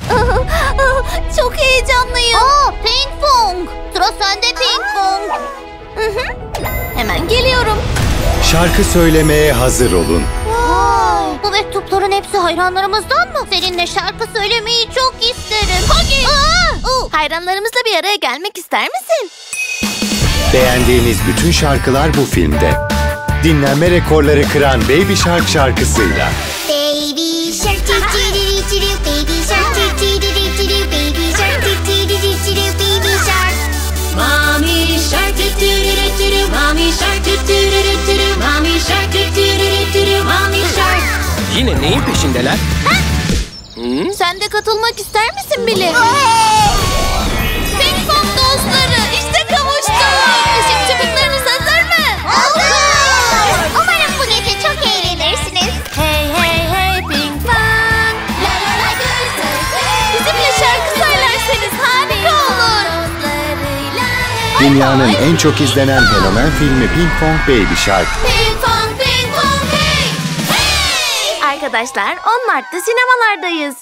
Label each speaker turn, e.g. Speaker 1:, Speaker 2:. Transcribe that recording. Speaker 1: çok heyecanlıyım. Aa, ping pong. Sıra sende ping pong. Hemen geliyorum.
Speaker 2: Şarkı söylemeye hazır olun.
Speaker 1: Vay. Bu mektupların hepsi hayranlarımızdan mı? Seninle şarkı söylemeyi çok isterim. Hadi. Hayranlarımızla bir araya gelmek ister misin?
Speaker 2: Beğendiğiniz bütün şarkılar bu filmde. Dinlenme rekorları kıran Baby Shark şarkısıyla.
Speaker 3: Baby shark doo doo doo doo doo baby shark doo doo doo doo doo doo baby shark doo doo doo doo doo doo baby shark
Speaker 4: Mommy shark doo doo doo doo doo Mommy shark doo doo doo doo doo Mommy shark doo doo doo doo doo Mommy shark
Speaker 5: Yine neyin peşindeler?
Speaker 1: Sen de katılmak ister misin Billy? Ping pong dostları işte kavuştuk. Işık çubuklarınız hazır mı?
Speaker 3: Alkış! Umarım bu gece çok eğlenirsiniz.
Speaker 1: Hey hey hey ping pong. La la la Bizimle şarkı söylerseniz harika olur.
Speaker 2: Dünyanın en çok izlenen fenomen filmi Ping Pong Baby Shark.
Speaker 1: Ping pong ping pong ping. Hey! Arkadaşlar 10 Mart'ta sinemalardayız.